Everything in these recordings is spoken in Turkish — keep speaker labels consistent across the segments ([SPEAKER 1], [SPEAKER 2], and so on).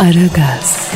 [SPEAKER 1] Aragaz,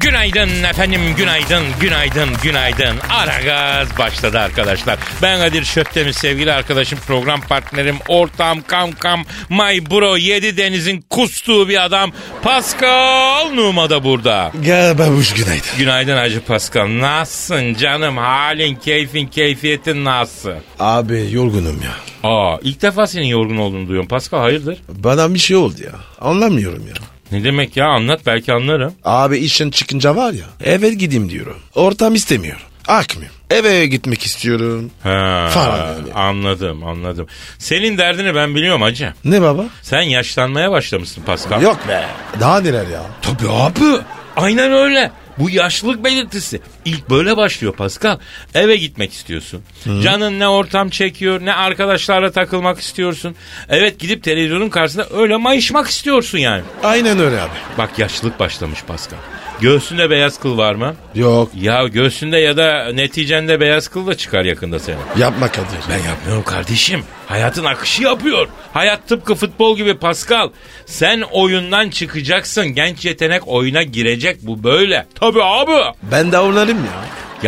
[SPEAKER 2] Günaydın efendim, günaydın, günaydın, günaydın. Ara gaz başladı arkadaşlar. Ben Kadir Şöptemir, sevgili arkadaşım, program partnerim, ortağım, kam kam, my bro, yedi denizin kustuğu bir adam. Pascal Numa da burada.
[SPEAKER 3] Gel babuş günaydın.
[SPEAKER 2] Günaydın Hacı Pascal. Nasılsın canım? Halin, keyfin, keyfiyetin nasıl?
[SPEAKER 3] Abi yorgunum ya.
[SPEAKER 2] Aa, ilk defa senin yorgun olduğunu duyuyorum. Pascal hayırdır?
[SPEAKER 3] Bana bir şey oldu ya. Anlamıyorum ya.
[SPEAKER 2] Ne demek ya? Anlat belki anlarım.
[SPEAKER 3] Abi işten çıkınca var ya. Eve gideyim diyorum. Ortam istemiyor. Akmıyorum. Eve gitmek istiyorum.
[SPEAKER 2] Ha,
[SPEAKER 3] Falan yani.
[SPEAKER 2] Anladım, anladım. Senin derdini ben biliyorum hacı.
[SPEAKER 3] Ne baba?
[SPEAKER 2] Sen yaşlanmaya başlamışsın Pascal.
[SPEAKER 3] Yok be. Daha neler ya?
[SPEAKER 2] Tabii abi. Aynen öyle. Bu yaşlılık belirtisi. İlk böyle başlıyor Pascal. Eve gitmek istiyorsun. Canın ne ortam çekiyor ne arkadaşlarla takılmak istiyorsun. Evet gidip televizyonun karşısında öyle mayışmak istiyorsun yani.
[SPEAKER 3] Aynen öyle abi.
[SPEAKER 2] Bak yaşlılık başlamış Pascal. Göğsünde beyaz kıl var mı?
[SPEAKER 3] Yok.
[SPEAKER 2] Ya göğsünde ya da neticende beyaz kıl da çıkar yakında senin.
[SPEAKER 3] Yapma Kadir.
[SPEAKER 2] Ben yapmıyorum kardeşim. Hayatın akışı yapıyor. Hayat tıpkı futbol gibi Pascal. Sen oyundan çıkacaksın. Genç yetenek oyuna girecek. Bu böyle. Tabii abi.
[SPEAKER 3] Ben de oynarım ya.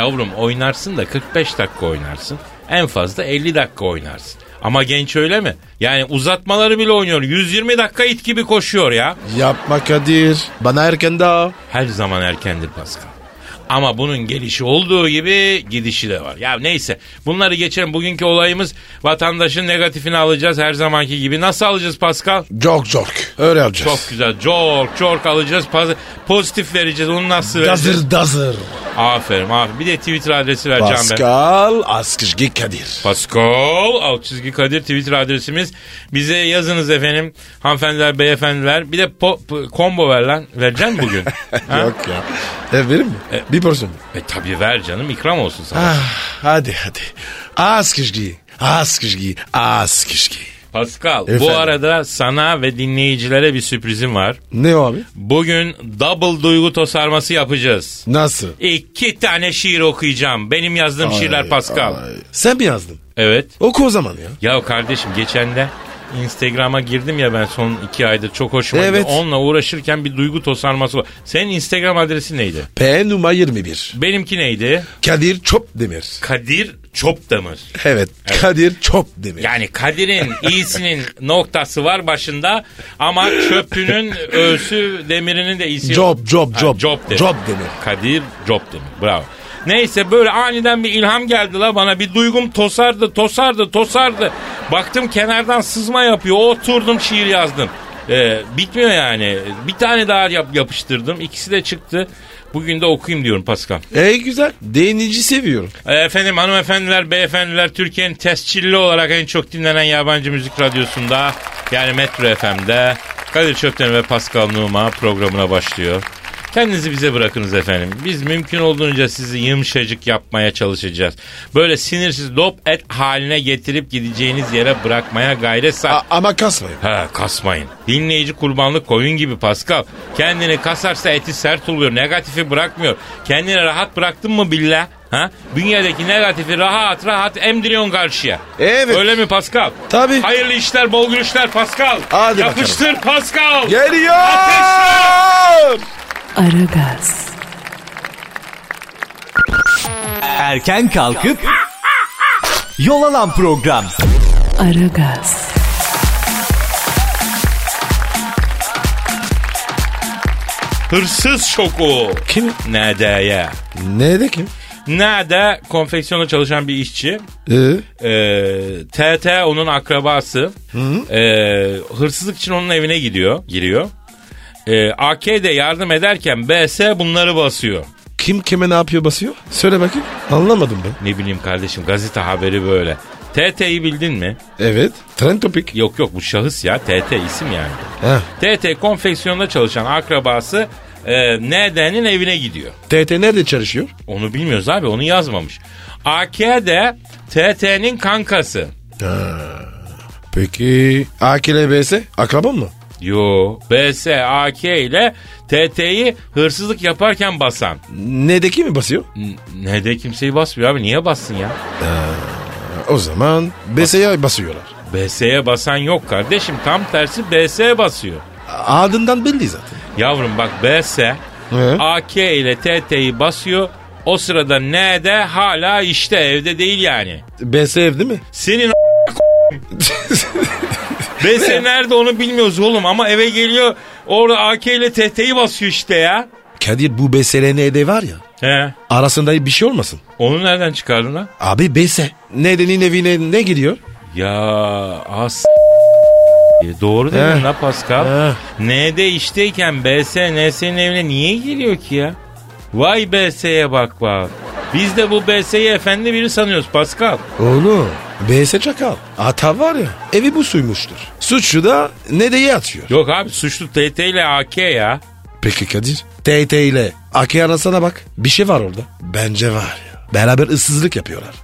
[SPEAKER 2] Yavrum oynarsın da 45 dakika oynarsın. En fazla 50 dakika oynarsın. Ama genç öyle mi? Yani uzatmaları bile oynuyor. 120 dakika it gibi koşuyor ya.
[SPEAKER 3] Yapma Kadir. Bana erken daha.
[SPEAKER 2] Her zaman erkendir Pascal. Ama bunun gelişi olduğu gibi gidişi de var. Ya neyse bunları geçelim. Bugünkü olayımız vatandaşın negatifini alacağız her zamanki gibi. Nasıl alacağız Pascal?
[SPEAKER 3] Çok çok. Öyle yapacağız.
[SPEAKER 2] Çok güzel. Çok çok alacağız. Paz- Pozitif vereceğiz. Onu nasıl vereceğiz?
[SPEAKER 3] Dazır dazır.
[SPEAKER 2] Aferin aferin. Bir de Twitter adresi vereceğim ben.
[SPEAKER 3] Pascal Askışgi Kadir.
[SPEAKER 2] Pascal alt çizgi Kadir Twitter adresimiz. Bize yazınız efendim. Hanımefendiler, beyefendiler. Bir de po- po- combo ver lan. Vereceksin mi bugün? Ha?
[SPEAKER 3] Yok ya. E verir mi? bir porsiyon.
[SPEAKER 2] E tabii ver canım. ikram olsun sana.
[SPEAKER 3] Ah, hadi hadi. Askışgi. Askışgi. Askışgi.
[SPEAKER 2] Pascal
[SPEAKER 3] Efendim?
[SPEAKER 2] bu arada sana ve dinleyicilere bir sürprizim var.
[SPEAKER 3] Ne o abi?
[SPEAKER 2] Bugün double duygu tosarması yapacağız.
[SPEAKER 3] Nasıl?
[SPEAKER 2] İki tane şiir okuyacağım. Benim yazdığım şiirler
[SPEAKER 3] Ay,
[SPEAKER 2] Pascal.
[SPEAKER 3] ay. Sen mi yazdın?
[SPEAKER 2] Evet.
[SPEAKER 3] Oku o zaman ya.
[SPEAKER 2] Ya kardeşim geçen de Instagram'a girdim ya ben son iki aydır çok hoşuma gitti.
[SPEAKER 3] Evet.
[SPEAKER 2] Onunla uğraşırken bir duygu tosarması var. Senin Instagram adresi neydi?
[SPEAKER 3] P numara 21.
[SPEAKER 2] Benimki neydi?
[SPEAKER 3] Kadir Çopdemir.
[SPEAKER 2] Kadir Çopdemir.
[SPEAKER 3] Evet, Kadir Çopdemir.
[SPEAKER 2] Yani Kadir'in iyisinin noktası var başında ama çöpünün öğüsü demirinin de iyisi yok.
[SPEAKER 3] Job, job,
[SPEAKER 2] Ha,
[SPEAKER 3] job.
[SPEAKER 2] job demir.
[SPEAKER 3] Job demir.
[SPEAKER 2] Kadir job demir. Bravo. Neyse böyle aniden bir ilham geldi la bana. Bir duygum tosardı, tosardı, tosardı. Baktım kenardan sızma yapıyor. Oturdum şiir yazdım. Ee, bitmiyor yani. Bir tane daha yap- yapıştırdım. İkisi de çıktı. Bugün de okuyayım diyorum Pascal.
[SPEAKER 3] Ey güzel. Değinici seviyorum.
[SPEAKER 2] Ee, Efendim hanımefendiler, beyefendiler Türkiye'nin tescilli olarak en çok dinlenen yabancı müzik radyosunda yani Metro FM'de Kadir Çöpten ve Pascal Numa programına başlıyor. Kendinizi bize bırakınız efendim. Biz mümkün olduğunca sizi yumuşacık yapmaya çalışacağız. Böyle sinirsiz dop et haline getirip gideceğiniz yere bırakmaya gayret sarf...
[SPEAKER 3] A- ama kasmayın.
[SPEAKER 2] Ha kasmayın. Dinleyici kurbanlık koyun gibi Pascal. Kendini kasarsa eti sert oluyor. Negatifi bırakmıyor. Kendini rahat bıraktın mı billah? Ha? Dünyadaki negatifi rahat rahat emdiriyorsun karşıya.
[SPEAKER 3] Evet.
[SPEAKER 2] Öyle mi Pascal?
[SPEAKER 3] Tabii.
[SPEAKER 2] Hayırlı işler, bol gülüşler Pascal.
[SPEAKER 3] Hadi bakalım.
[SPEAKER 2] Yapıştır Pascal.
[SPEAKER 3] Geliyor.
[SPEAKER 1] Aragaz,
[SPEAKER 4] Erken kalkıp yol alan program.
[SPEAKER 1] Aragaz,
[SPEAKER 2] Hırsız şoku.
[SPEAKER 3] Kim?
[SPEAKER 2] Nada'ya.
[SPEAKER 3] Nerede kim?
[SPEAKER 2] Nada konfeksiyona çalışan bir işçi.
[SPEAKER 3] Ee,
[SPEAKER 2] Ee, TT onun akrabası. Ee, hırsızlık için onun evine gidiyor, giriyor. Ee, AK de yardım ederken BS bunları basıyor.
[SPEAKER 3] Kim kime ne yapıyor basıyor? Söyle bakayım. Anlamadım ben.
[SPEAKER 2] Ne bileyim kardeşim gazete haberi böyle. TT'yi bildin mi?
[SPEAKER 3] Evet. Trend topik.
[SPEAKER 2] Yok yok bu şahıs ya TT isim yani.
[SPEAKER 3] Heh.
[SPEAKER 2] TT konfeksiyonda çalışan akrabası e, ND'nin evine gidiyor.
[SPEAKER 3] TT nerede çalışıyor?
[SPEAKER 2] Onu bilmiyoruz abi onu yazmamış. AK de TT'nin kankası.
[SPEAKER 3] Peki AKLBS akraba mı?
[SPEAKER 2] Yo BS AK ile TT'yi hırsızlık yaparken basan.
[SPEAKER 3] Nedeki mi basıyor?
[SPEAKER 2] N- Ne de kimseyi basmıyor abi niye bassın ya?
[SPEAKER 3] O zaman BS'ye basıyorlar.
[SPEAKER 2] BS'ye basan yok kardeşim tam tersi BS'ye basıyor.
[SPEAKER 3] Adından belli zaten.
[SPEAKER 2] Yavrum bak BS
[SPEAKER 3] Ee?
[SPEAKER 2] AK ile TT'yi basıyor. O sırada ne de hala işte evde değil yani.
[SPEAKER 3] BS ev değil mi?
[SPEAKER 2] Senin BS nerede onu bilmiyoruz oğlum ama eve geliyor orada AK ile TT'yi basıyor işte ya.
[SPEAKER 3] Kadir bu BSLN'de var ya
[SPEAKER 2] He.
[SPEAKER 3] arasında bir şey olmasın.
[SPEAKER 2] Onu nereden çıkardın lan?
[SPEAKER 3] Abi BS. Nedenin evine ne gidiyor?
[SPEAKER 2] Ya as E, Doğru dedin
[SPEAKER 3] He.
[SPEAKER 2] la Pascal.
[SPEAKER 3] He.
[SPEAKER 2] N'de işteyken BS NS'nin evine niye giriyor ki ya? Vay BS'ye bak bak. Biz de bu BS'yi efendi biri sanıyoruz Pascal.
[SPEAKER 3] Oğlum BS çakal. Ata var ya evi bu suymuştur. Suçu da Nede'ye atıyor.
[SPEAKER 2] Yok abi suçlu TT ile AK ya.
[SPEAKER 3] Peki Kadir. TT ile AK arasına bak. Bir şey var orada. Bence var ya. Beraber ıssızlık yapıyorlar.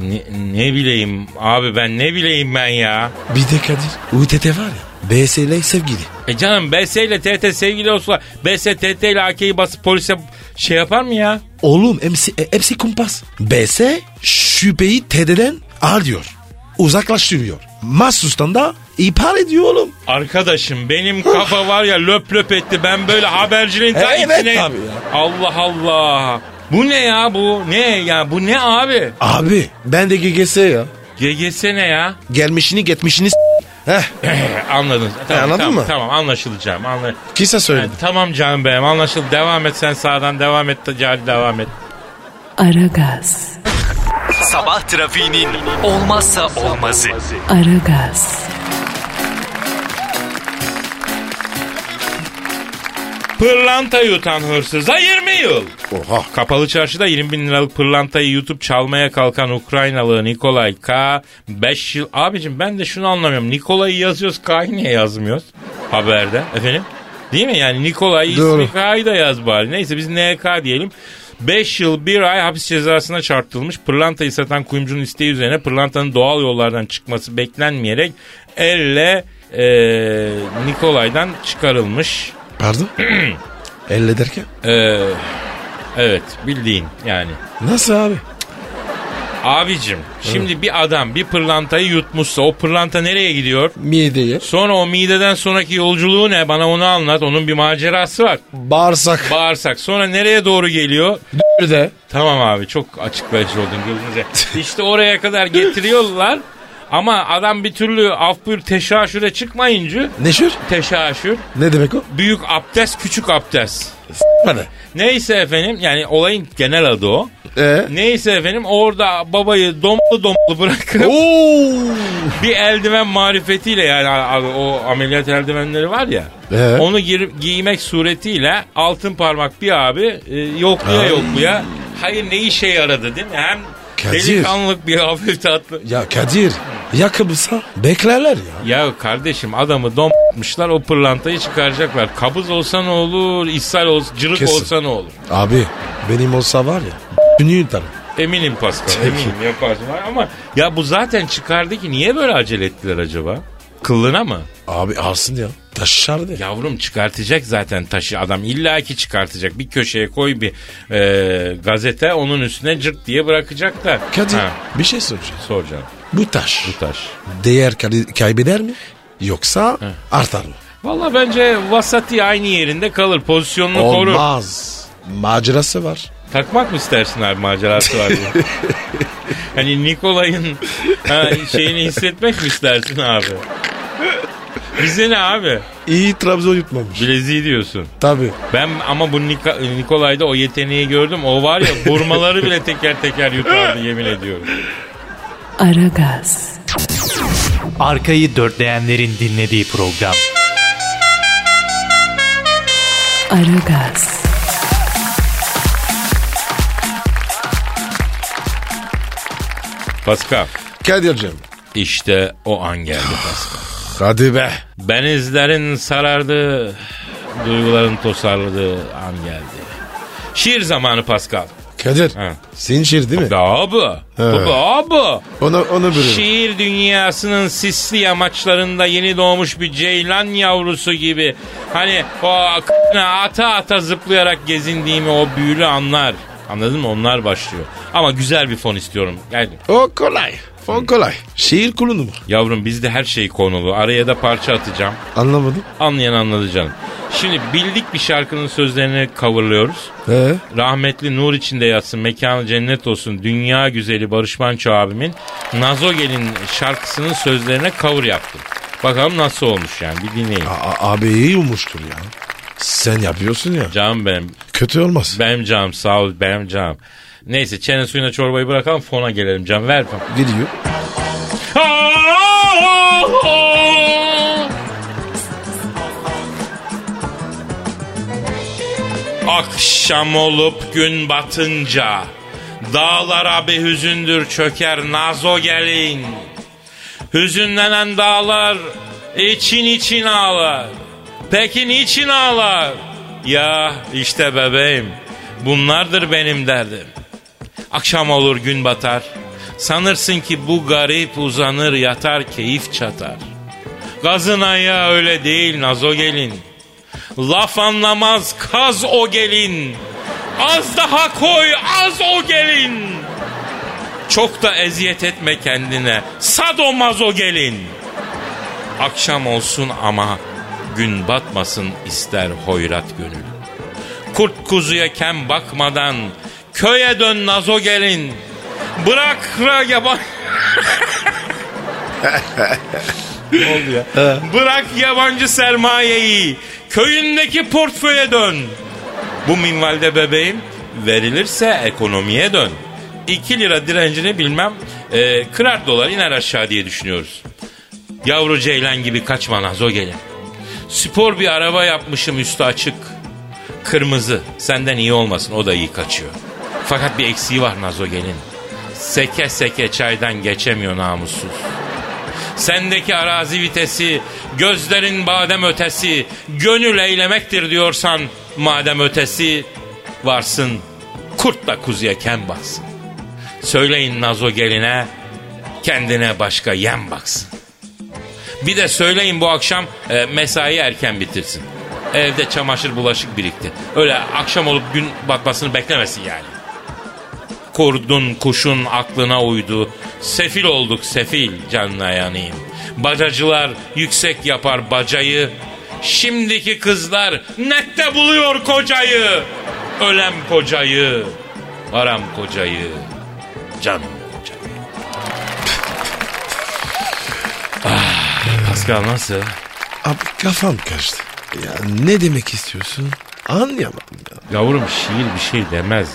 [SPEAKER 2] Ne, ne bileyim abi ben ne bileyim ben ya.
[SPEAKER 3] Bir de Kadir. UTT var ya. BS ile sevgili.
[SPEAKER 2] E canım BS ile TT sevgili olsa BS TT ile AK'yi basıp polise şey yapar mı ya?
[SPEAKER 3] Oğlum hepsi, e, hepsi kumpas. BS şüpheyi TD'den ar diyor. Uzaklaştırıyor. Mahsustan da ihbar ediyor oğlum.
[SPEAKER 2] Arkadaşım benim kafa var ya löp löp etti. Ben böyle habercinin ta
[SPEAKER 3] Evet
[SPEAKER 2] içine-
[SPEAKER 3] tabii ya.
[SPEAKER 2] Allah Allah. Bu ne ya bu? Ne ya bu ne abi?
[SPEAKER 3] Abi ben de GGS ya.
[SPEAKER 2] GGS ne ya?
[SPEAKER 3] Gelmişini getmişini s- Heh,
[SPEAKER 2] Anladın. Tamam,
[SPEAKER 3] E, anladın
[SPEAKER 2] tamam,
[SPEAKER 3] mı?
[SPEAKER 2] Tamam anlaşılacağım. Anla...
[SPEAKER 3] kısa
[SPEAKER 2] Yani
[SPEAKER 3] söyledim.
[SPEAKER 2] tamam canım benim anlaşıldı. Devam et sen sağdan devam et. Cari devam et.
[SPEAKER 1] Aragaz.
[SPEAKER 4] Sabah trafiğinin olmazsa olmazı.
[SPEAKER 1] Aragaz.
[SPEAKER 2] Pırlanta yutan hırsıza 20 yıl.
[SPEAKER 3] Oha.
[SPEAKER 2] Kapalı çarşıda 20 bin liralık pırlantayı yutup çalmaya kalkan Ukraynalı Nikolay K. 5 yıl... Abicim ben de şunu anlamıyorum. Nikolay'ı yazıyoruz K'yı niye yazmıyoruz haberde? Efendim? Değil mi? Yani Nikolay ismi
[SPEAKER 3] Doğru.
[SPEAKER 2] K'yı da yaz bari. Neyse biz NK diyelim. 5 yıl 1 ay hapis cezasına çarptırılmış pırlantayı satan kuyumcunun isteği üzerine pırlantanın doğal yollardan çıkması beklenmeyerek elle eee, Nikolay'dan çıkarılmış.
[SPEAKER 3] Pardon? Elle derken?
[SPEAKER 2] Eee, Ee, evet bildiğin yani.
[SPEAKER 3] Nasıl abi?
[SPEAKER 2] Abicim şimdi bir adam bir pırlantayı yutmuşsa o pırlanta nereye gidiyor?
[SPEAKER 3] Mideye.
[SPEAKER 2] Sonra o mideden sonraki yolculuğu ne? Bana onu anlat. Onun bir macerası var.
[SPEAKER 3] Bağırsak.
[SPEAKER 2] Bağırsak. Sonra nereye doğru geliyor?
[SPEAKER 3] de.
[SPEAKER 2] Tamam abi çok açıklayıcı oldun gözünüze. İşte oraya kadar getiriyorlar. Ama adam bir türlü af buyur teşaşüre çıkmayınca
[SPEAKER 3] Neşir?
[SPEAKER 2] teşaşür
[SPEAKER 3] Ne demek o?
[SPEAKER 2] büyük abdest küçük abdest.
[SPEAKER 3] Bana.
[SPEAKER 2] Neyse efendim yani olayın genel adı o.
[SPEAKER 3] Ee?
[SPEAKER 2] Neyse efendim orada babayı domlu domlu bırakıp
[SPEAKER 3] Oo.
[SPEAKER 2] bir eldiven marifetiyle yani a- a- o ameliyat eldivenleri var ya.
[SPEAKER 3] Ee?
[SPEAKER 2] Onu gir- giymek suretiyle altın parmak bir abi e, yokluya
[SPEAKER 3] Ay.
[SPEAKER 2] yokluya. Hayır ne işe yaradı değil mi? Hem
[SPEAKER 3] Kadir.
[SPEAKER 2] delikanlılık bir hafif tatlı.
[SPEAKER 3] Ya Kadir yakıbısa beklerler ya.
[SPEAKER 2] Ya kardeşim adamı domutmuşlar o pırlantayı çıkaracaklar. Kabız olsa ne olur, ishal olsa, cırık
[SPEAKER 3] Kesin.
[SPEAKER 2] olsa ne olur?
[SPEAKER 3] Abi benim olsa var ya. Günü yutarım.
[SPEAKER 2] Eminim Pascal eminim yaparsın. Ama ya bu zaten çıkardı ki niye böyle acele ettiler acaba? Kıllına mı?
[SPEAKER 3] Abi alsın ya. Taşar de.
[SPEAKER 2] Yavrum çıkartacak zaten taşı adam illaki çıkartacak. Bir köşeye koy bir e, gazete onun üstüne cırt diye bırakacaklar.
[SPEAKER 3] Kadir
[SPEAKER 2] Ha,
[SPEAKER 3] bir şey soracağım.
[SPEAKER 2] soracağım
[SPEAKER 3] Bu taş
[SPEAKER 2] bu taş.
[SPEAKER 3] değer kay- kaybeder mi? Yoksa artar mı?
[SPEAKER 2] Valla bence vasati aynı yerinde kalır pozisyonunu korur.
[SPEAKER 3] Olmaz. Macerası var.
[SPEAKER 2] Takmak mı istersin abi macerası var diye. hani Nikolay'ın ha, şeyini hissetmek mi istersin abi? Bize ne abi?
[SPEAKER 3] İyi Trabzon yutmamış.
[SPEAKER 2] Bileziği diyorsun.
[SPEAKER 3] Tabii.
[SPEAKER 2] Ben ama bu Nika- Nikolay'da o yeteneği gördüm. O var ya burmaları bile teker teker yutardı yemin ediyorum.
[SPEAKER 1] Aragaz.
[SPEAKER 4] Arkayı dörtleyenlerin dinlediği program.
[SPEAKER 1] Aragaz.
[SPEAKER 2] Pascal
[SPEAKER 3] Kadir'cim.
[SPEAKER 2] işte o an geldi Pascal.
[SPEAKER 3] Hadi be.
[SPEAKER 2] Benizlerin sarardı, duyguların tosarladığı an geldi. Şiir zamanı Pascal.
[SPEAKER 3] Kadir.
[SPEAKER 2] Ha.
[SPEAKER 3] Senin şiir değil mi?
[SPEAKER 2] Be abi, be abi.
[SPEAKER 3] Onu, onu bilirim.
[SPEAKER 2] Şiir dünyasının sisli yamaçlarında yeni doğmuş bir ceylan yavrusu gibi. Hani o a- ata ata zıplayarak gezindiğimi o büyülü anlar. Anladın mı? Onlar başlıyor. Ama güzel bir fon istiyorum. Gel.
[SPEAKER 3] O kolay. O kolay. Şiir kulunu mu?
[SPEAKER 2] Yavrum bizde her şey konulu. Araya da parça atacağım.
[SPEAKER 3] Anlamadım.
[SPEAKER 2] Anlayan anladı canım. Şimdi bildik bir şarkının sözlerini coverlıyoruz.
[SPEAKER 3] Ee?
[SPEAKER 2] Rahmetli nur içinde yatsın, mekanı cennet olsun. Dünya güzeli Barış Manço abimin Nazo Gel'in şarkısının sözlerine cover yaptım. Bakalım nasıl olmuş yani bir dinleyin.
[SPEAKER 3] A- abi iyi olmuştur ya. Sen yapıyorsun ya.
[SPEAKER 2] Canım benim,
[SPEAKER 3] Kötü olmaz.
[SPEAKER 2] benim canım sağ ol benim canım. Neyse çene suyuna çorbayı bırakalım fona gelelim canım ver. fon.
[SPEAKER 3] Gidiyor.
[SPEAKER 2] Akşam olup gün batınca Dağlara bir hüzündür çöker nazo gelin Hüzünlenen dağlar için için ağlar Peki niçin ağlar? Ya işte bebeğim bunlardır benim derdim Akşam olur gün batar. Sanırsın ki bu garip uzanır yatar keyif çatar. Gazın ayağı öyle değil nazo gelin. Laf anlamaz kaz o gelin. Az daha koy az o gelin. Çok da eziyet etme kendine. Sadomazo gelin. Akşam olsun ama gün batmasın ister hoyrat gönül. Kurt kuzuya kem bakmadan köye dön nazo gelin. Bırak ra yaban... Bırak yabancı sermayeyi. Köyündeki portföye dön. Bu minvalde bebeğim verilirse ekonomiye dön. 2 lira direncini bilmem e, kırar dolar iner aşağı diye düşünüyoruz. Yavru ceylan gibi kaçma Nazo gelin. Spor bir araba yapmışım üstü açık. Kırmızı senden iyi olmasın o da iyi kaçıyor. Fakat bir eksiği var Nazo gelin. Seke seke çaydan geçemiyor namussuz. Sendeki arazi vitesi, gözlerin badem ötesi, gönül eylemektir diyorsan madem ötesi varsın. Kurtla kuzuya kem baksın. Söyleyin nazo geline, kendine başka yem baksın. Bir de söyleyin bu akşam e, mesai erken bitirsin. Evde çamaşır bulaşık birikti. Öyle akşam olup gün batmasını beklemesin yani. Kurdun kuşun aklına uydu. Sefil olduk sefil canına yanayım. Bacacılar yüksek yapar bacayı. Şimdiki kızlar nette buluyor kocayı. Ölem kocayı. Aram kocayı. Canım kocayı. ah, Pascal nasıl?
[SPEAKER 3] Abi kafam kaçtı. Ya ne demek istiyorsun? Anlayamadım ya.
[SPEAKER 2] Yavrum şiir bir şey demez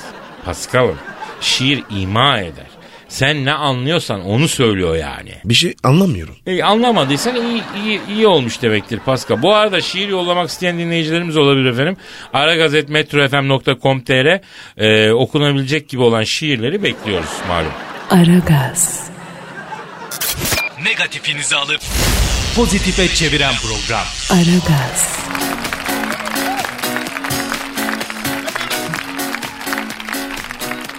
[SPEAKER 2] Pascal'ım. Şiir ima eder. Sen ne anlıyorsan onu söylüyor yani.
[SPEAKER 3] Bir şey anlamıyorum.
[SPEAKER 2] E, anlamadıysan iyi, iyi, iyi olmuş demektir Pascal. Bu arada şiir yollamak isteyen dinleyicilerimiz olabilir efendim. aragazetmetrofm.com.tr e, okunabilecek gibi olan şiirleri bekliyoruz malum.
[SPEAKER 1] Aragaz,
[SPEAKER 4] Negatifinizi alıp pozitife çeviren program.
[SPEAKER 1] Aragaz,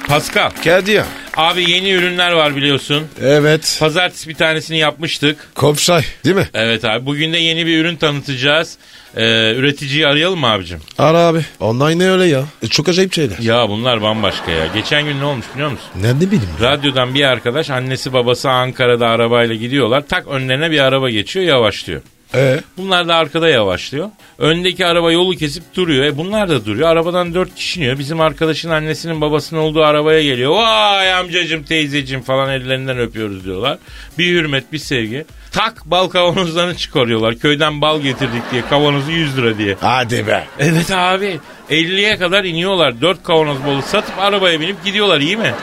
[SPEAKER 2] Pascal
[SPEAKER 3] Kadir.
[SPEAKER 2] abi yeni ürünler var biliyorsun.
[SPEAKER 3] Evet.
[SPEAKER 2] Pazartesi bir tanesini yapmıştık.
[SPEAKER 3] Kopşay değil mi?
[SPEAKER 2] Evet abi bugün de yeni bir ürün tanıtacağız. E, üreticiyi arayalım mı abicim?
[SPEAKER 3] Ara abi. Online ne öyle ya? E, çok acayip şeyler.
[SPEAKER 2] Ya bunlar bambaşka ya. Geçen gün ne olmuş biliyor musun?
[SPEAKER 3] Nerede bileyim?
[SPEAKER 2] Radyodan bir arkadaş annesi babası Ankara'da arabayla gidiyorlar. Tak önlerine bir araba geçiyor yavaşlıyor.
[SPEAKER 3] Ee?
[SPEAKER 2] Bunlar da arkada yavaşlıyor. Öndeki araba yolu kesip duruyor. E bunlar da duruyor. Arabadan dört kişi iniyor. Bizim arkadaşın annesinin babasının olduğu arabaya geliyor. Vay amcacım teyzeciğim falan ellerinden öpüyoruz diyorlar. Bir hürmet bir sevgi. Tak bal kavanozlarını çıkarıyorlar. Köyden bal getirdik diye kavanozu 100 lira diye.
[SPEAKER 3] Hadi be.
[SPEAKER 2] Evet abi 50'ye kadar iniyorlar. 4 kavanoz balı satıp arabaya binip gidiyorlar iyi mi?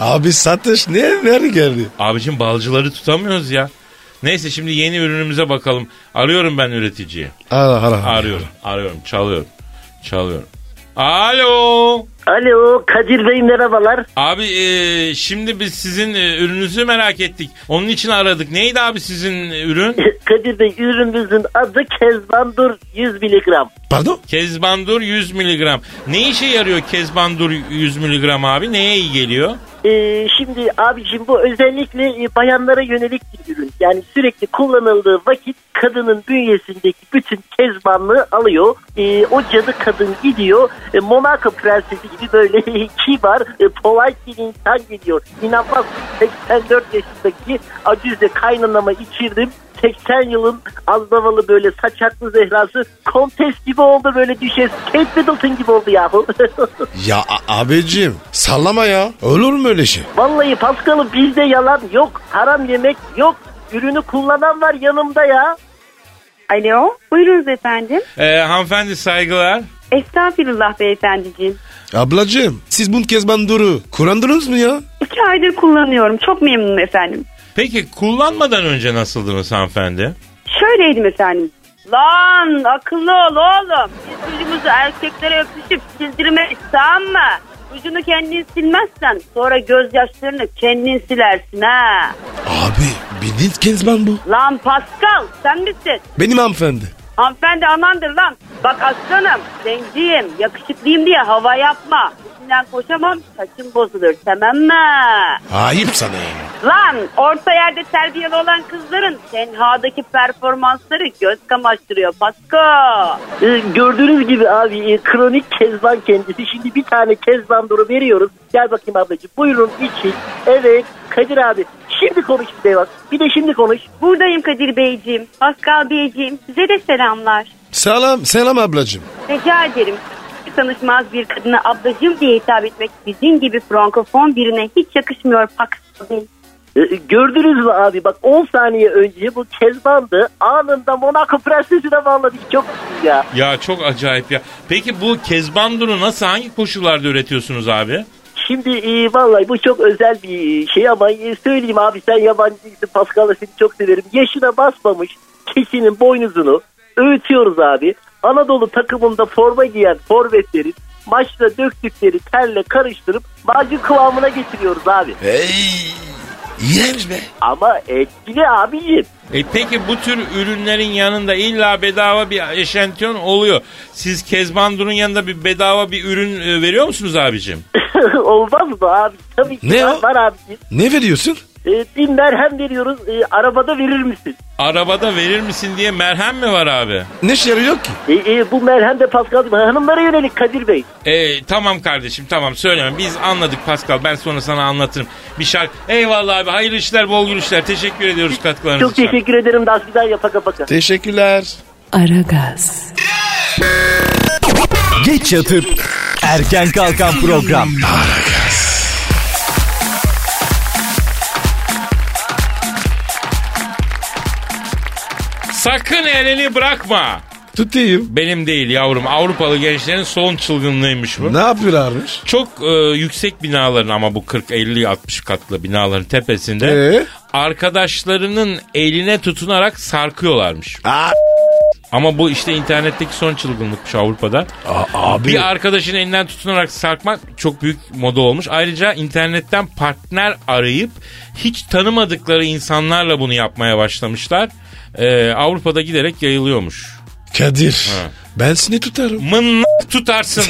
[SPEAKER 3] Abi satış ne nerede geldi?
[SPEAKER 2] Abicim balcıları tutamıyoruz ya. Neyse şimdi yeni ürünümüze bakalım. Arıyorum ben üreticiyi.
[SPEAKER 3] Ara ara.
[SPEAKER 2] Arıyorum, arıyorum, çalıyorum, çalıyorum. Alo.
[SPEAKER 5] Alo Kadir Bey merhabalar.
[SPEAKER 2] Abi e, şimdi biz sizin e, ürününüzü merak ettik. Onun için aradık. Neydi abi sizin e, ürün?
[SPEAKER 5] Kadir Bey ürünümüzün adı Kezbandur 100 miligram.
[SPEAKER 3] Pardon?
[SPEAKER 2] Kezbandur 100 miligram. Ne işe yarıyor Kezbandur 100 miligram abi? Neye iyi geliyor?
[SPEAKER 5] Ee, şimdi abicim bu özellikle e, bayanlara yönelik bir ürün. Yani sürekli kullanıldığı vakit kadının bünyesindeki bütün kezbanlığı alıyor. Ee, o cadı kadın gidiyor. E, Monaco prensesi gibi böyle kibar, e, polite bir insan gidiyor. İnanmaz 84 yaşındaki acize kaynanama içirdim. 80 yılın azdavalı böyle saçaklı zehrası kontes gibi oldu böyle düşes. Kate Middleton gibi oldu yahu.
[SPEAKER 3] Ya a- abicim sallama ya. Olur mu öyle şey?
[SPEAKER 5] Vallahi Paskal'ım bizde yalan yok. Haram yemek yok. Ürünü kullanan var yanımda ya.
[SPEAKER 6] Alo, buyurunuz efendim.
[SPEAKER 2] E, hanımefendi saygılar.
[SPEAKER 6] Estağfirullah beyefendiciğim.
[SPEAKER 3] Ablacım siz bunu Kezbandur'u kullandınız mı ya?
[SPEAKER 6] İki aydır kullanıyorum. Çok memnunum efendim.
[SPEAKER 2] Peki kullanmadan önce nasıldınız hanımefendi?
[SPEAKER 6] Şöyleydim efendim. Lan akıllı ol oğlum. Biz ucumuzu erkeklere öpüşüp sildirmeyiz tamam mı? Ucunu kendin silmezsen sonra gözyaşlarını kendin silersin ha.
[SPEAKER 3] Abi bildiğin Kezban bu.
[SPEAKER 6] Lan Pascal sen misin?
[SPEAKER 3] Benim hanımefendi.
[SPEAKER 6] Hanımefendi anandır lan. Bak aslanım zenciyim yakışıklıyım diye hava yapma. İçinden koşamam saçım bozulur tamam mı?
[SPEAKER 3] Ayıp sana ya.
[SPEAKER 6] Lan orta yerde terbiyeli olan kızların tenhadaki performansları göz kamaştırıyor Pasko.
[SPEAKER 5] Ee, gördüğünüz gibi abi e, kronik kezban kendisi. Şimdi bir tane kezban duru veriyoruz. Gel bakayım ablacığım. Buyurun için. Evet Kadir abi. Şimdi konuş bir de bak. Bir de şimdi konuş.
[SPEAKER 6] Buradayım Kadir Beyciğim, Pascal Beyciğim. Size de selamlar.
[SPEAKER 3] Selam, selam ablacım.
[SPEAKER 6] Rica ederim. Tanışmaz bir kadına ablacığım diye hitap etmek sizin gibi frankofon birine hiç yakışmıyor Pascal Bey.
[SPEAKER 5] Ee, gördünüz mü abi bak 10 saniye önce bu kezbandı. Anında Monaco prensesine bağladık. Çok iyi ya.
[SPEAKER 2] Ya çok acayip ya. Peki bu Kezbandur'u nasıl hangi koşullarda üretiyorsunuz abi?
[SPEAKER 5] Şimdi e, vallahi bu çok özel bir şey ama e, söyleyeyim abi sen yabancı değilsin Pascal'la seni çok severim. Yaşına basmamış keçinin boynuzunu öğütüyoruz abi. Anadolu takımında forma giyen forvetleri maçta döktükleri terle karıştırıp macun kıvamına getiriyoruz abi.
[SPEAKER 3] Hey, iğrenç be.
[SPEAKER 5] Ama etkili abicim.
[SPEAKER 2] E peki bu tür ürünlerin yanında illa bedava bir eşantiyon oluyor. Siz Kezbandur'un yanında bir bedava bir ürün e, veriyor musunuz abicim?
[SPEAKER 5] Olmaz mı abi? Tabii ki
[SPEAKER 3] Ne
[SPEAKER 5] var,
[SPEAKER 3] o?
[SPEAKER 5] var abicim.
[SPEAKER 3] Ne veriyorsun?
[SPEAKER 5] E, bir merhem veriyoruz. E, arabada verir misin?
[SPEAKER 2] Arabada verir misin diye merhem mi var abi?
[SPEAKER 3] Ne şey yok ki?
[SPEAKER 5] E, e, bu merhem de Pascal hanımlara yönelik Kadir Bey.
[SPEAKER 2] E, tamam kardeşim tamam söyleme biz anladık Pascal ben sonra sana anlatırım. Bir şarkı eyvallah abi hayırlı işler bol gülüşler teşekkür ediyoruz katkılarınız
[SPEAKER 5] Çok
[SPEAKER 2] için.
[SPEAKER 5] teşekkür ederim. Daha güzel yapaka baka.
[SPEAKER 3] Teşekkürler.
[SPEAKER 1] Aragaz,
[SPEAKER 4] Geç yatıp erken kalkan program.
[SPEAKER 2] Sakın elini bırakma.
[SPEAKER 3] Tutayım.
[SPEAKER 2] Benim değil yavrum Avrupalı gençlerin son çılgınlığıymış bu.
[SPEAKER 3] Ne yapıyorlarmış?
[SPEAKER 2] Çok e, yüksek binaların ama bu 40 50 60 katlı binaların tepesinde
[SPEAKER 3] Ee?
[SPEAKER 2] arkadaşlarının eline tutunarak sarkıyorlarmış.
[SPEAKER 3] Aa,
[SPEAKER 2] Ama bu işte internetteki son çılgınlıkmış Avrupa'da.
[SPEAKER 3] abi.
[SPEAKER 2] Bir arkadaşın elinden tutunarak sarkmak çok büyük moda olmuş. Ayrıca internetten partner arayıp hiç tanımadıkları insanlarla bunu yapmaya başlamışlar. E, Avrupa'da giderek yayılıyormuş.
[SPEAKER 3] Kadir. Ben seni tutarım.
[SPEAKER 2] Mınnak tutarsın.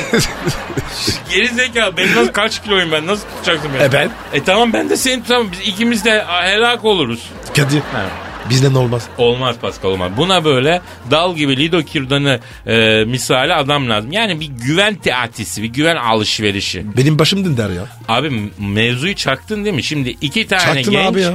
[SPEAKER 2] Geri zekalı. Ben nasıl kaç kiloyum ben? Nasıl tutacaksın beni?
[SPEAKER 3] E ben?
[SPEAKER 2] E tamam ben de seni tutamam. Biz ikimiz de helak oluruz.
[SPEAKER 3] Kadir.
[SPEAKER 2] Ha.
[SPEAKER 3] Bizden olmaz.
[SPEAKER 2] Olmaz Pascal olmaz. Buna böyle dal gibi Lido Kirdan'ı e, misali adam lazım. Yani bir güven teatisi, bir güven alışverişi.
[SPEAKER 3] Benim başım dindar ya.
[SPEAKER 2] Abi m- mevzuyu çaktın değil mi? Şimdi iki tane
[SPEAKER 3] Çaktın
[SPEAKER 2] genç.
[SPEAKER 3] abi ya.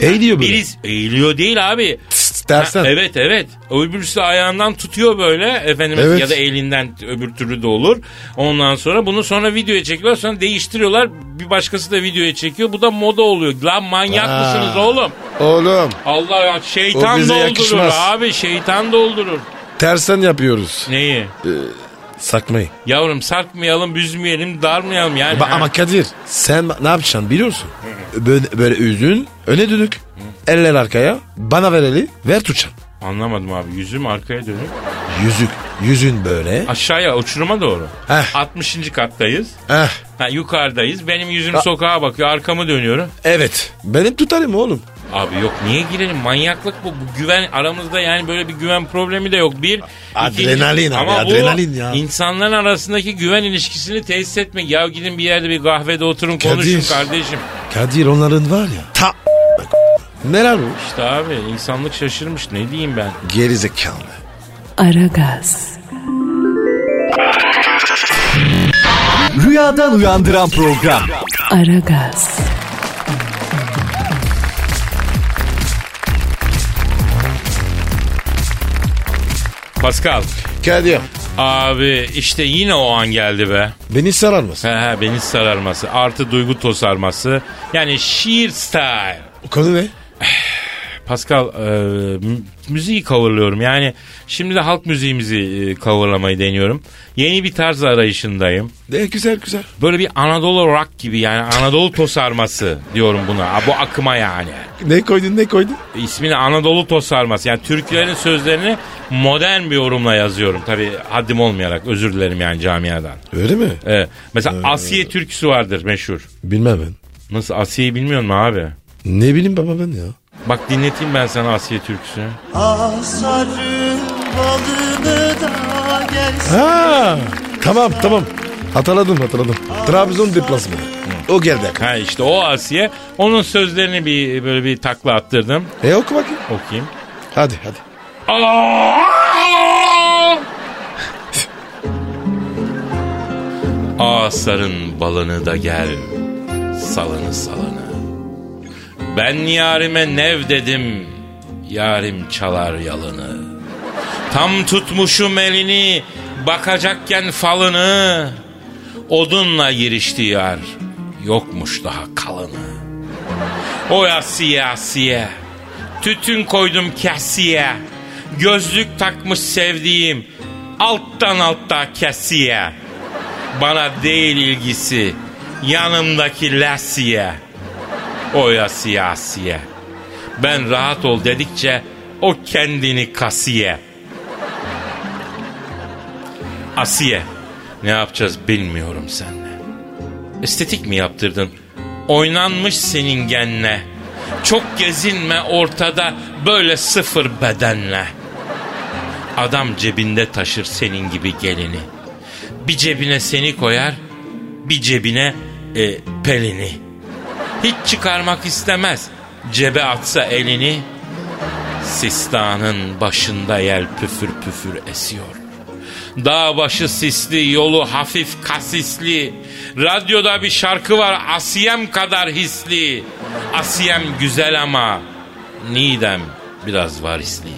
[SPEAKER 3] Ey diyor böyle.
[SPEAKER 2] Biriz eğiliyor değil abi.
[SPEAKER 3] Tıs,
[SPEAKER 2] Ha,
[SPEAKER 3] dersen.
[SPEAKER 2] evet evet. Öbürsü de ayağından tutuyor böyle efendim
[SPEAKER 3] Evet.
[SPEAKER 2] ya da elinden öbür türlü de olur. Ondan sonra bunu sonra videoya çekiyorlar sonra değiştiriyorlar. Bir başkası da videoya çekiyor. Bu da moda oluyor. Lan manyak
[SPEAKER 3] Aa.
[SPEAKER 2] mısınız oğlum?
[SPEAKER 3] Oğlum
[SPEAKER 2] Allah ya
[SPEAKER 3] O
[SPEAKER 2] şeytan
[SPEAKER 3] bize
[SPEAKER 2] doldurur
[SPEAKER 3] yakışmaz.
[SPEAKER 2] abi şeytan doldurur.
[SPEAKER 3] tersen yapıyoruz.
[SPEAKER 2] Neyi?
[SPEAKER 3] Sakmayın.
[SPEAKER 2] Yavrum sarkmayalım, büzmeyelim, darmayalım yani.
[SPEAKER 3] Ba- ama Kadir sen ne yapacaksın biliyor musun? Böyle, böyle üzün öne dönük. Eller arkaya. Bana ver eli. Ver tutacaksın.
[SPEAKER 2] Anlamadım abi yüzüm arkaya dönük.
[SPEAKER 3] Yüzük. Yüzün böyle.
[SPEAKER 2] Aşağıya uçuruma doğru.
[SPEAKER 3] Heh.
[SPEAKER 2] 60. kattayız.
[SPEAKER 3] Eh,
[SPEAKER 2] Ha, yukarıdayız. Benim yüzüm sokağa bakıyor. Arkamı dönüyorum.
[SPEAKER 3] evet. Benim tutarım oğlum.
[SPEAKER 2] Abi yok niye girelim? Manyaklık bu. bu güven aramızda yani böyle bir güven problemi de yok. Bir. ikinci-
[SPEAKER 3] Adrenalin abi,
[SPEAKER 2] Ama bu
[SPEAKER 3] adrenalin ya.
[SPEAKER 2] insanların arasındaki güven ilişkisini tesis etmek. Ya gidin bir yerde bir kahvede oturun konuşun
[SPEAKER 3] Kadir.
[SPEAKER 2] kardeşim.
[SPEAKER 3] Kadir onların var ya. Ta. Neler bu?
[SPEAKER 2] İşte abi insanlık şaşırmış. Ne diyeyim ben?
[SPEAKER 3] Gerizekalı.
[SPEAKER 1] Aragaz,
[SPEAKER 4] Rüyadan uyandıran program.
[SPEAKER 1] Aragaz,
[SPEAKER 2] Pascal.
[SPEAKER 3] Kadir.
[SPEAKER 2] Abi işte yine o an geldi be.
[SPEAKER 3] Beni sarar mısın?
[SPEAKER 2] He he beni sararması artı duygu tosarması. Yani şiir style.
[SPEAKER 3] Konu ne?
[SPEAKER 2] Pascal e, mü- müziği coverlıyorum. Yani şimdi de halk müziğimizi e, coverlamayı deniyorum. Yeni bir tarz arayışındayım.
[SPEAKER 3] De güzel güzel.
[SPEAKER 2] Böyle bir Anadolu rock gibi yani Anadolu tosarması diyorum buna. Ha, Bu akıma yani.
[SPEAKER 3] Ne koydun ne koydun?
[SPEAKER 2] İsmini Anadolu tosarması. Yani türkülerin sözlerini modern bir yorumla yazıyorum. Tabii haddim olmayarak özür dilerim yani camiadan.
[SPEAKER 3] Öyle mi?
[SPEAKER 2] Evet. Mesela Asiye türküsü vardır meşhur.
[SPEAKER 3] Bilmem ben.
[SPEAKER 2] Nasıl Asiye'yi bilmiyor musun abi?
[SPEAKER 3] Ne bileyim baba ben ya.
[SPEAKER 2] Bak dinleteyim ben sana Asiye türküsünü.
[SPEAKER 3] Ha, tamam tamam. Hatırladım hatırladım. Trabzon deplasmanı. O geldi.
[SPEAKER 2] Ha işte o Asiye. Onun sözlerini bir böyle bir takla attırdım.
[SPEAKER 3] E oku bakayım.
[SPEAKER 2] Okuyayım.
[SPEAKER 3] Hadi hadi.
[SPEAKER 2] Asarın balını da gel salını salını. Ben yarime nev dedim yarim çalar yalını. Tam tutmuşum elini bakacakken falını. Odunla girişti yar yokmuş daha kalını. Oy asiye asiye. Tütün koydum kesiye. Gözlük takmış sevdiğim. Alttan altta kesiye. Bana değil ilgisi. Yanımdaki lasiye. Oy asiye asiye. Ben rahat ol dedikçe o kendini kasiye. Asiye. Ne yapacağız bilmiyorum seninle. Estetik mi yaptırdın? Oynanmış senin genle. Çok gezinme ortada böyle sıfır bedenle. Adam cebinde taşır senin gibi gelini. Bir cebine seni koyar, bir cebine e, pelini. Hiç çıkarmak istemez. Cebe atsa elini. Sistanın başında yel püfür püfür esiyor. Dağ başı sisli, yolu hafif kasisli. Radyoda bir şarkı var Asiyem kadar hisli. Asiyem güzel ama Nidem biraz varisli.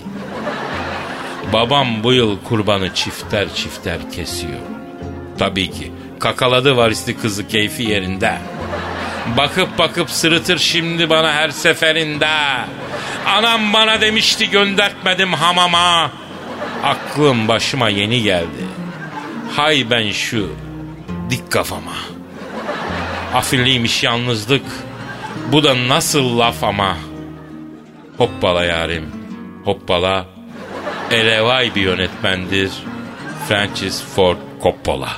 [SPEAKER 2] Babam bu yıl kurbanı çifter çifter kesiyor. Tabii ki kakaladı varisli kızı keyfi yerinde. Bakıp bakıp sırıtır şimdi bana her seferinde. Anam bana demişti göndertmedim hamama. Aklım başıma yeni geldi. Hay ben şu dik kafama. Afilliymiş yalnızlık. Bu da nasıl laf ama. Hoppala yarim. Hoppala. Elevay bir yönetmendir. Francis Ford Coppola.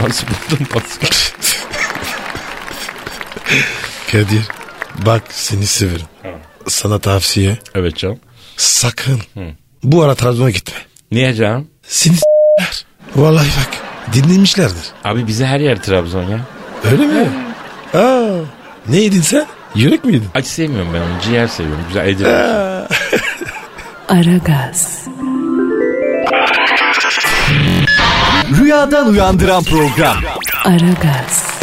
[SPEAKER 2] Nasıl buldun Pascal?
[SPEAKER 3] Kadir bak seni severim. Sana tavsiye
[SPEAKER 2] evet canım.
[SPEAKER 3] sakın bu ara Trabzon'a gitme.
[SPEAKER 2] Niye canım?
[SPEAKER 3] Seni s**ler. Vallahi bak dinlemişlerdir.
[SPEAKER 2] Abi bize her yer Trabzon ya.
[SPEAKER 3] Öyle mi? Aa, ne yedin sen? Yürek mi yedin?
[SPEAKER 2] Acı sevmiyorum ben onu. Ciğer seviyorum. Güzel Edirne.
[SPEAKER 1] Aragaz,
[SPEAKER 4] Rüyadan uyandıran program.
[SPEAKER 1] Aragaz,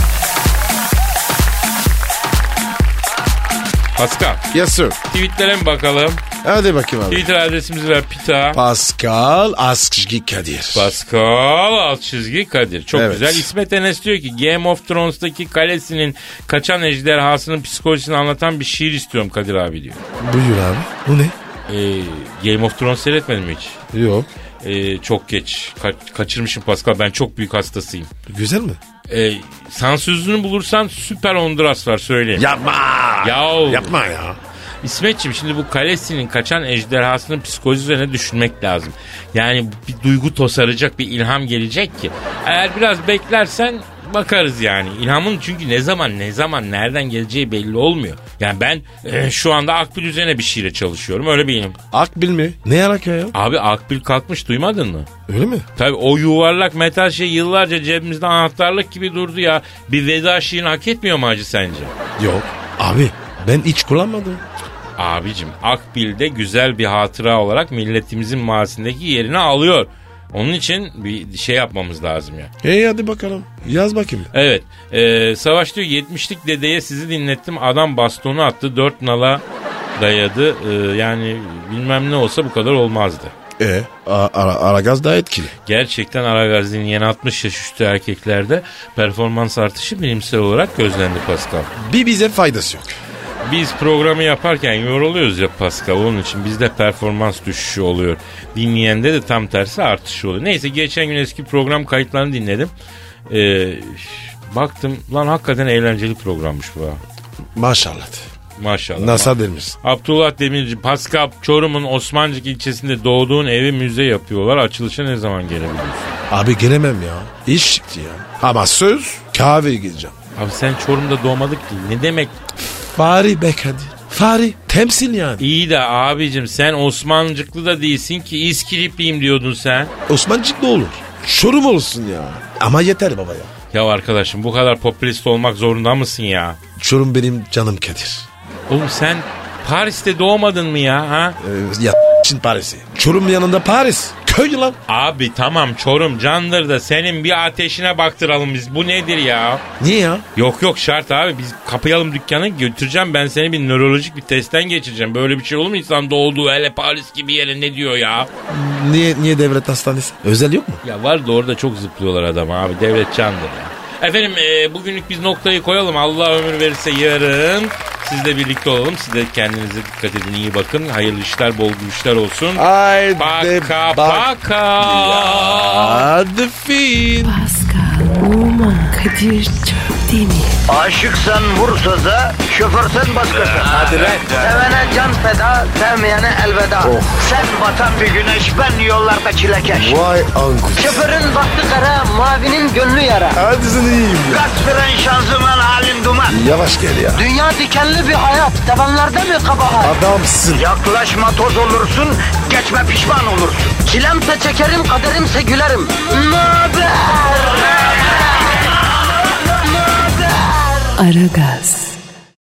[SPEAKER 2] Pascal.
[SPEAKER 3] Yes sir.
[SPEAKER 2] Tweetlere mi bakalım?
[SPEAKER 3] Hadi bakayım abi.
[SPEAKER 2] Twitter adresimiz ver pita.
[SPEAKER 3] Pascal Askışgi Kadir.
[SPEAKER 2] Pascal alt çizgi Kadir. Çok
[SPEAKER 3] Evet.
[SPEAKER 2] güzel. İsmet Enes diyor ki Game of Thrones'taki kalesinin kaçan ejderhasının psikolojisini anlatan bir şiir istiyorum Kadir abi diyor.
[SPEAKER 3] Buyur abi. Bu ne?
[SPEAKER 2] Ee, Game of Thrones seyretmedim mi hiç.
[SPEAKER 3] Yok.
[SPEAKER 2] Ee, çok geç. Ka- kaçırmışım Pascal. Ben çok büyük hastasıyım.
[SPEAKER 3] Güzel mi?
[SPEAKER 2] Ee, sansüzünü bulursan süper Honduras var söyleyeyim.
[SPEAKER 3] Yapma.
[SPEAKER 2] Yahu.
[SPEAKER 3] Yapma ya.
[SPEAKER 2] İsmetçim şimdi bu Kalesi'nin kaçan ejderhasının psikolojisi üzerine düşünmek lazım. Yani bir duygu tosaracak bir ilham gelecek ki. Eğer biraz beklersen bakarız yani. İlhamın çünkü ne zaman ne zaman nereden geleceği belli olmuyor. Yani ben e, şu anda Akbil üzerine bir şeyle çalışıyorum öyle bir ilham.
[SPEAKER 3] Akbil mi? Ne alaka ya?
[SPEAKER 2] Abi Akbil kalkmış duymadın mı?
[SPEAKER 3] Öyle mi?
[SPEAKER 2] Tabii o yuvarlak metal şey yıllarca cebimizde anahtarlık gibi durdu ya. Bir veda şiirini hak etmiyor mu acı sence?
[SPEAKER 3] Yok. Abi ben hiç kullanmadım.
[SPEAKER 2] Abicim Akbil'de güzel bir hatıra olarak milletimizin mahallesindeki yerini alıyor. Onun için bir şey yapmamız lazım ya.
[SPEAKER 3] E hadi bakalım. Yaz bakayım.
[SPEAKER 2] Evet. e, Savaş diyor 70'lik dedeye sizi dinlettim. Adam bastonu attı. Dört nala dayadı. E, yani bilmem ne olsa bu kadar olmazdı.
[SPEAKER 3] E a- ara, Aragaz daha etkili.
[SPEAKER 2] Gerçekten Aragazi'nin yeni 60 yaş üstü erkeklerde performans artışı bilimsel olarak gözlendi Pascal.
[SPEAKER 3] Bir bize faydası yok.
[SPEAKER 2] Biz programı yaparken yoruluyoruz ya Pascal. Onun için bizde performans düşüşü oluyor. Dinleyende de tam tersi artış oluyor. Neyse geçen gün eski program kayıtlarını dinledim. Ee, baktım lan hakikaten eğlenceli programmış bu. ha.
[SPEAKER 3] Maşallah.
[SPEAKER 2] Maşallah.
[SPEAKER 3] Nasıl demiş?
[SPEAKER 2] Abdullah Demirci, Pascal Çorum'un Osmancık ilçesinde doğduğun evi müze yapıyorlar. Açılışa ne zaman gelebiliyorsun?
[SPEAKER 3] Abi gelemem ya. İş çıktı ya. Ama söz kahve gideceğim.
[SPEAKER 2] Abi sen Çorum'da doğmadık ki. Ne demek
[SPEAKER 3] Fari be Kadir. Fari. Temsil yani.
[SPEAKER 2] İyi de abicim sen Osmancıklı da değilsin ki İskilipliyim diyordun sen.
[SPEAKER 3] Osmancık ne olur? Şorum olsun ya. Ama yeter baba ya.
[SPEAKER 2] Ya arkadaşım bu kadar popülist olmak zorunda mısın ya?
[SPEAKER 3] Çorum benim canım Kadir.
[SPEAKER 2] Oğlum sen Paris'te doğmadın mı ya? Ha?
[SPEAKER 3] Ee, ya Çin Paris'i. Çorum yanında Paris. Köy lan.
[SPEAKER 2] Abi tamam Çorum candır da senin bir ateşine baktıralım biz. Bu nedir ya?
[SPEAKER 3] Niye ya?
[SPEAKER 2] Yok yok şart abi biz kapayalım dükkanı götüreceğim ben seni bir nörolojik bir testten geçireceğim. Böyle bir şey olur mu insan doğduğu hele Paris gibi yere ne diyor ya?
[SPEAKER 3] Niye niye devlet hastanesi? Özel yok mu?
[SPEAKER 2] Ya var da orada çok zıplıyorlar adam abi. Devlet candır ya. Efendim e, bugünlük biz noktayı koyalım. Allah ömür verirse yarın sizle birlikte olalım. Siz de kendinize dikkat edin. iyi bakın. Hayırlı işler, bol güçler olsun.
[SPEAKER 3] Haydi
[SPEAKER 2] Paka
[SPEAKER 3] bak.
[SPEAKER 2] paka.
[SPEAKER 3] Hadi fin.
[SPEAKER 1] Pascal, Oman, Kadir çok değil mi?
[SPEAKER 7] Aşıksan vursa da, şoförsen başkasın. Hadi Sevene can feda, sevmeyene elveda. Sen batan bir güneş, ben yollarda çilekeş.
[SPEAKER 3] Vay anku.
[SPEAKER 7] Şoförün baktı kara, mavinin gönlü yara.
[SPEAKER 3] Hadi sen iyiyim ya.
[SPEAKER 7] Kasperen şanzıman halin duman.
[SPEAKER 3] Yavaş gel ya.
[SPEAKER 7] Dünya dikenli bir hayat, sevenlerde mi kabahar?
[SPEAKER 3] Adamsın.
[SPEAKER 7] Yaklaşma toz olursun, geçme pişman olursun. Çilemse çekerim, kaderimse gülerim. Möber!
[SPEAKER 1] Aragaz.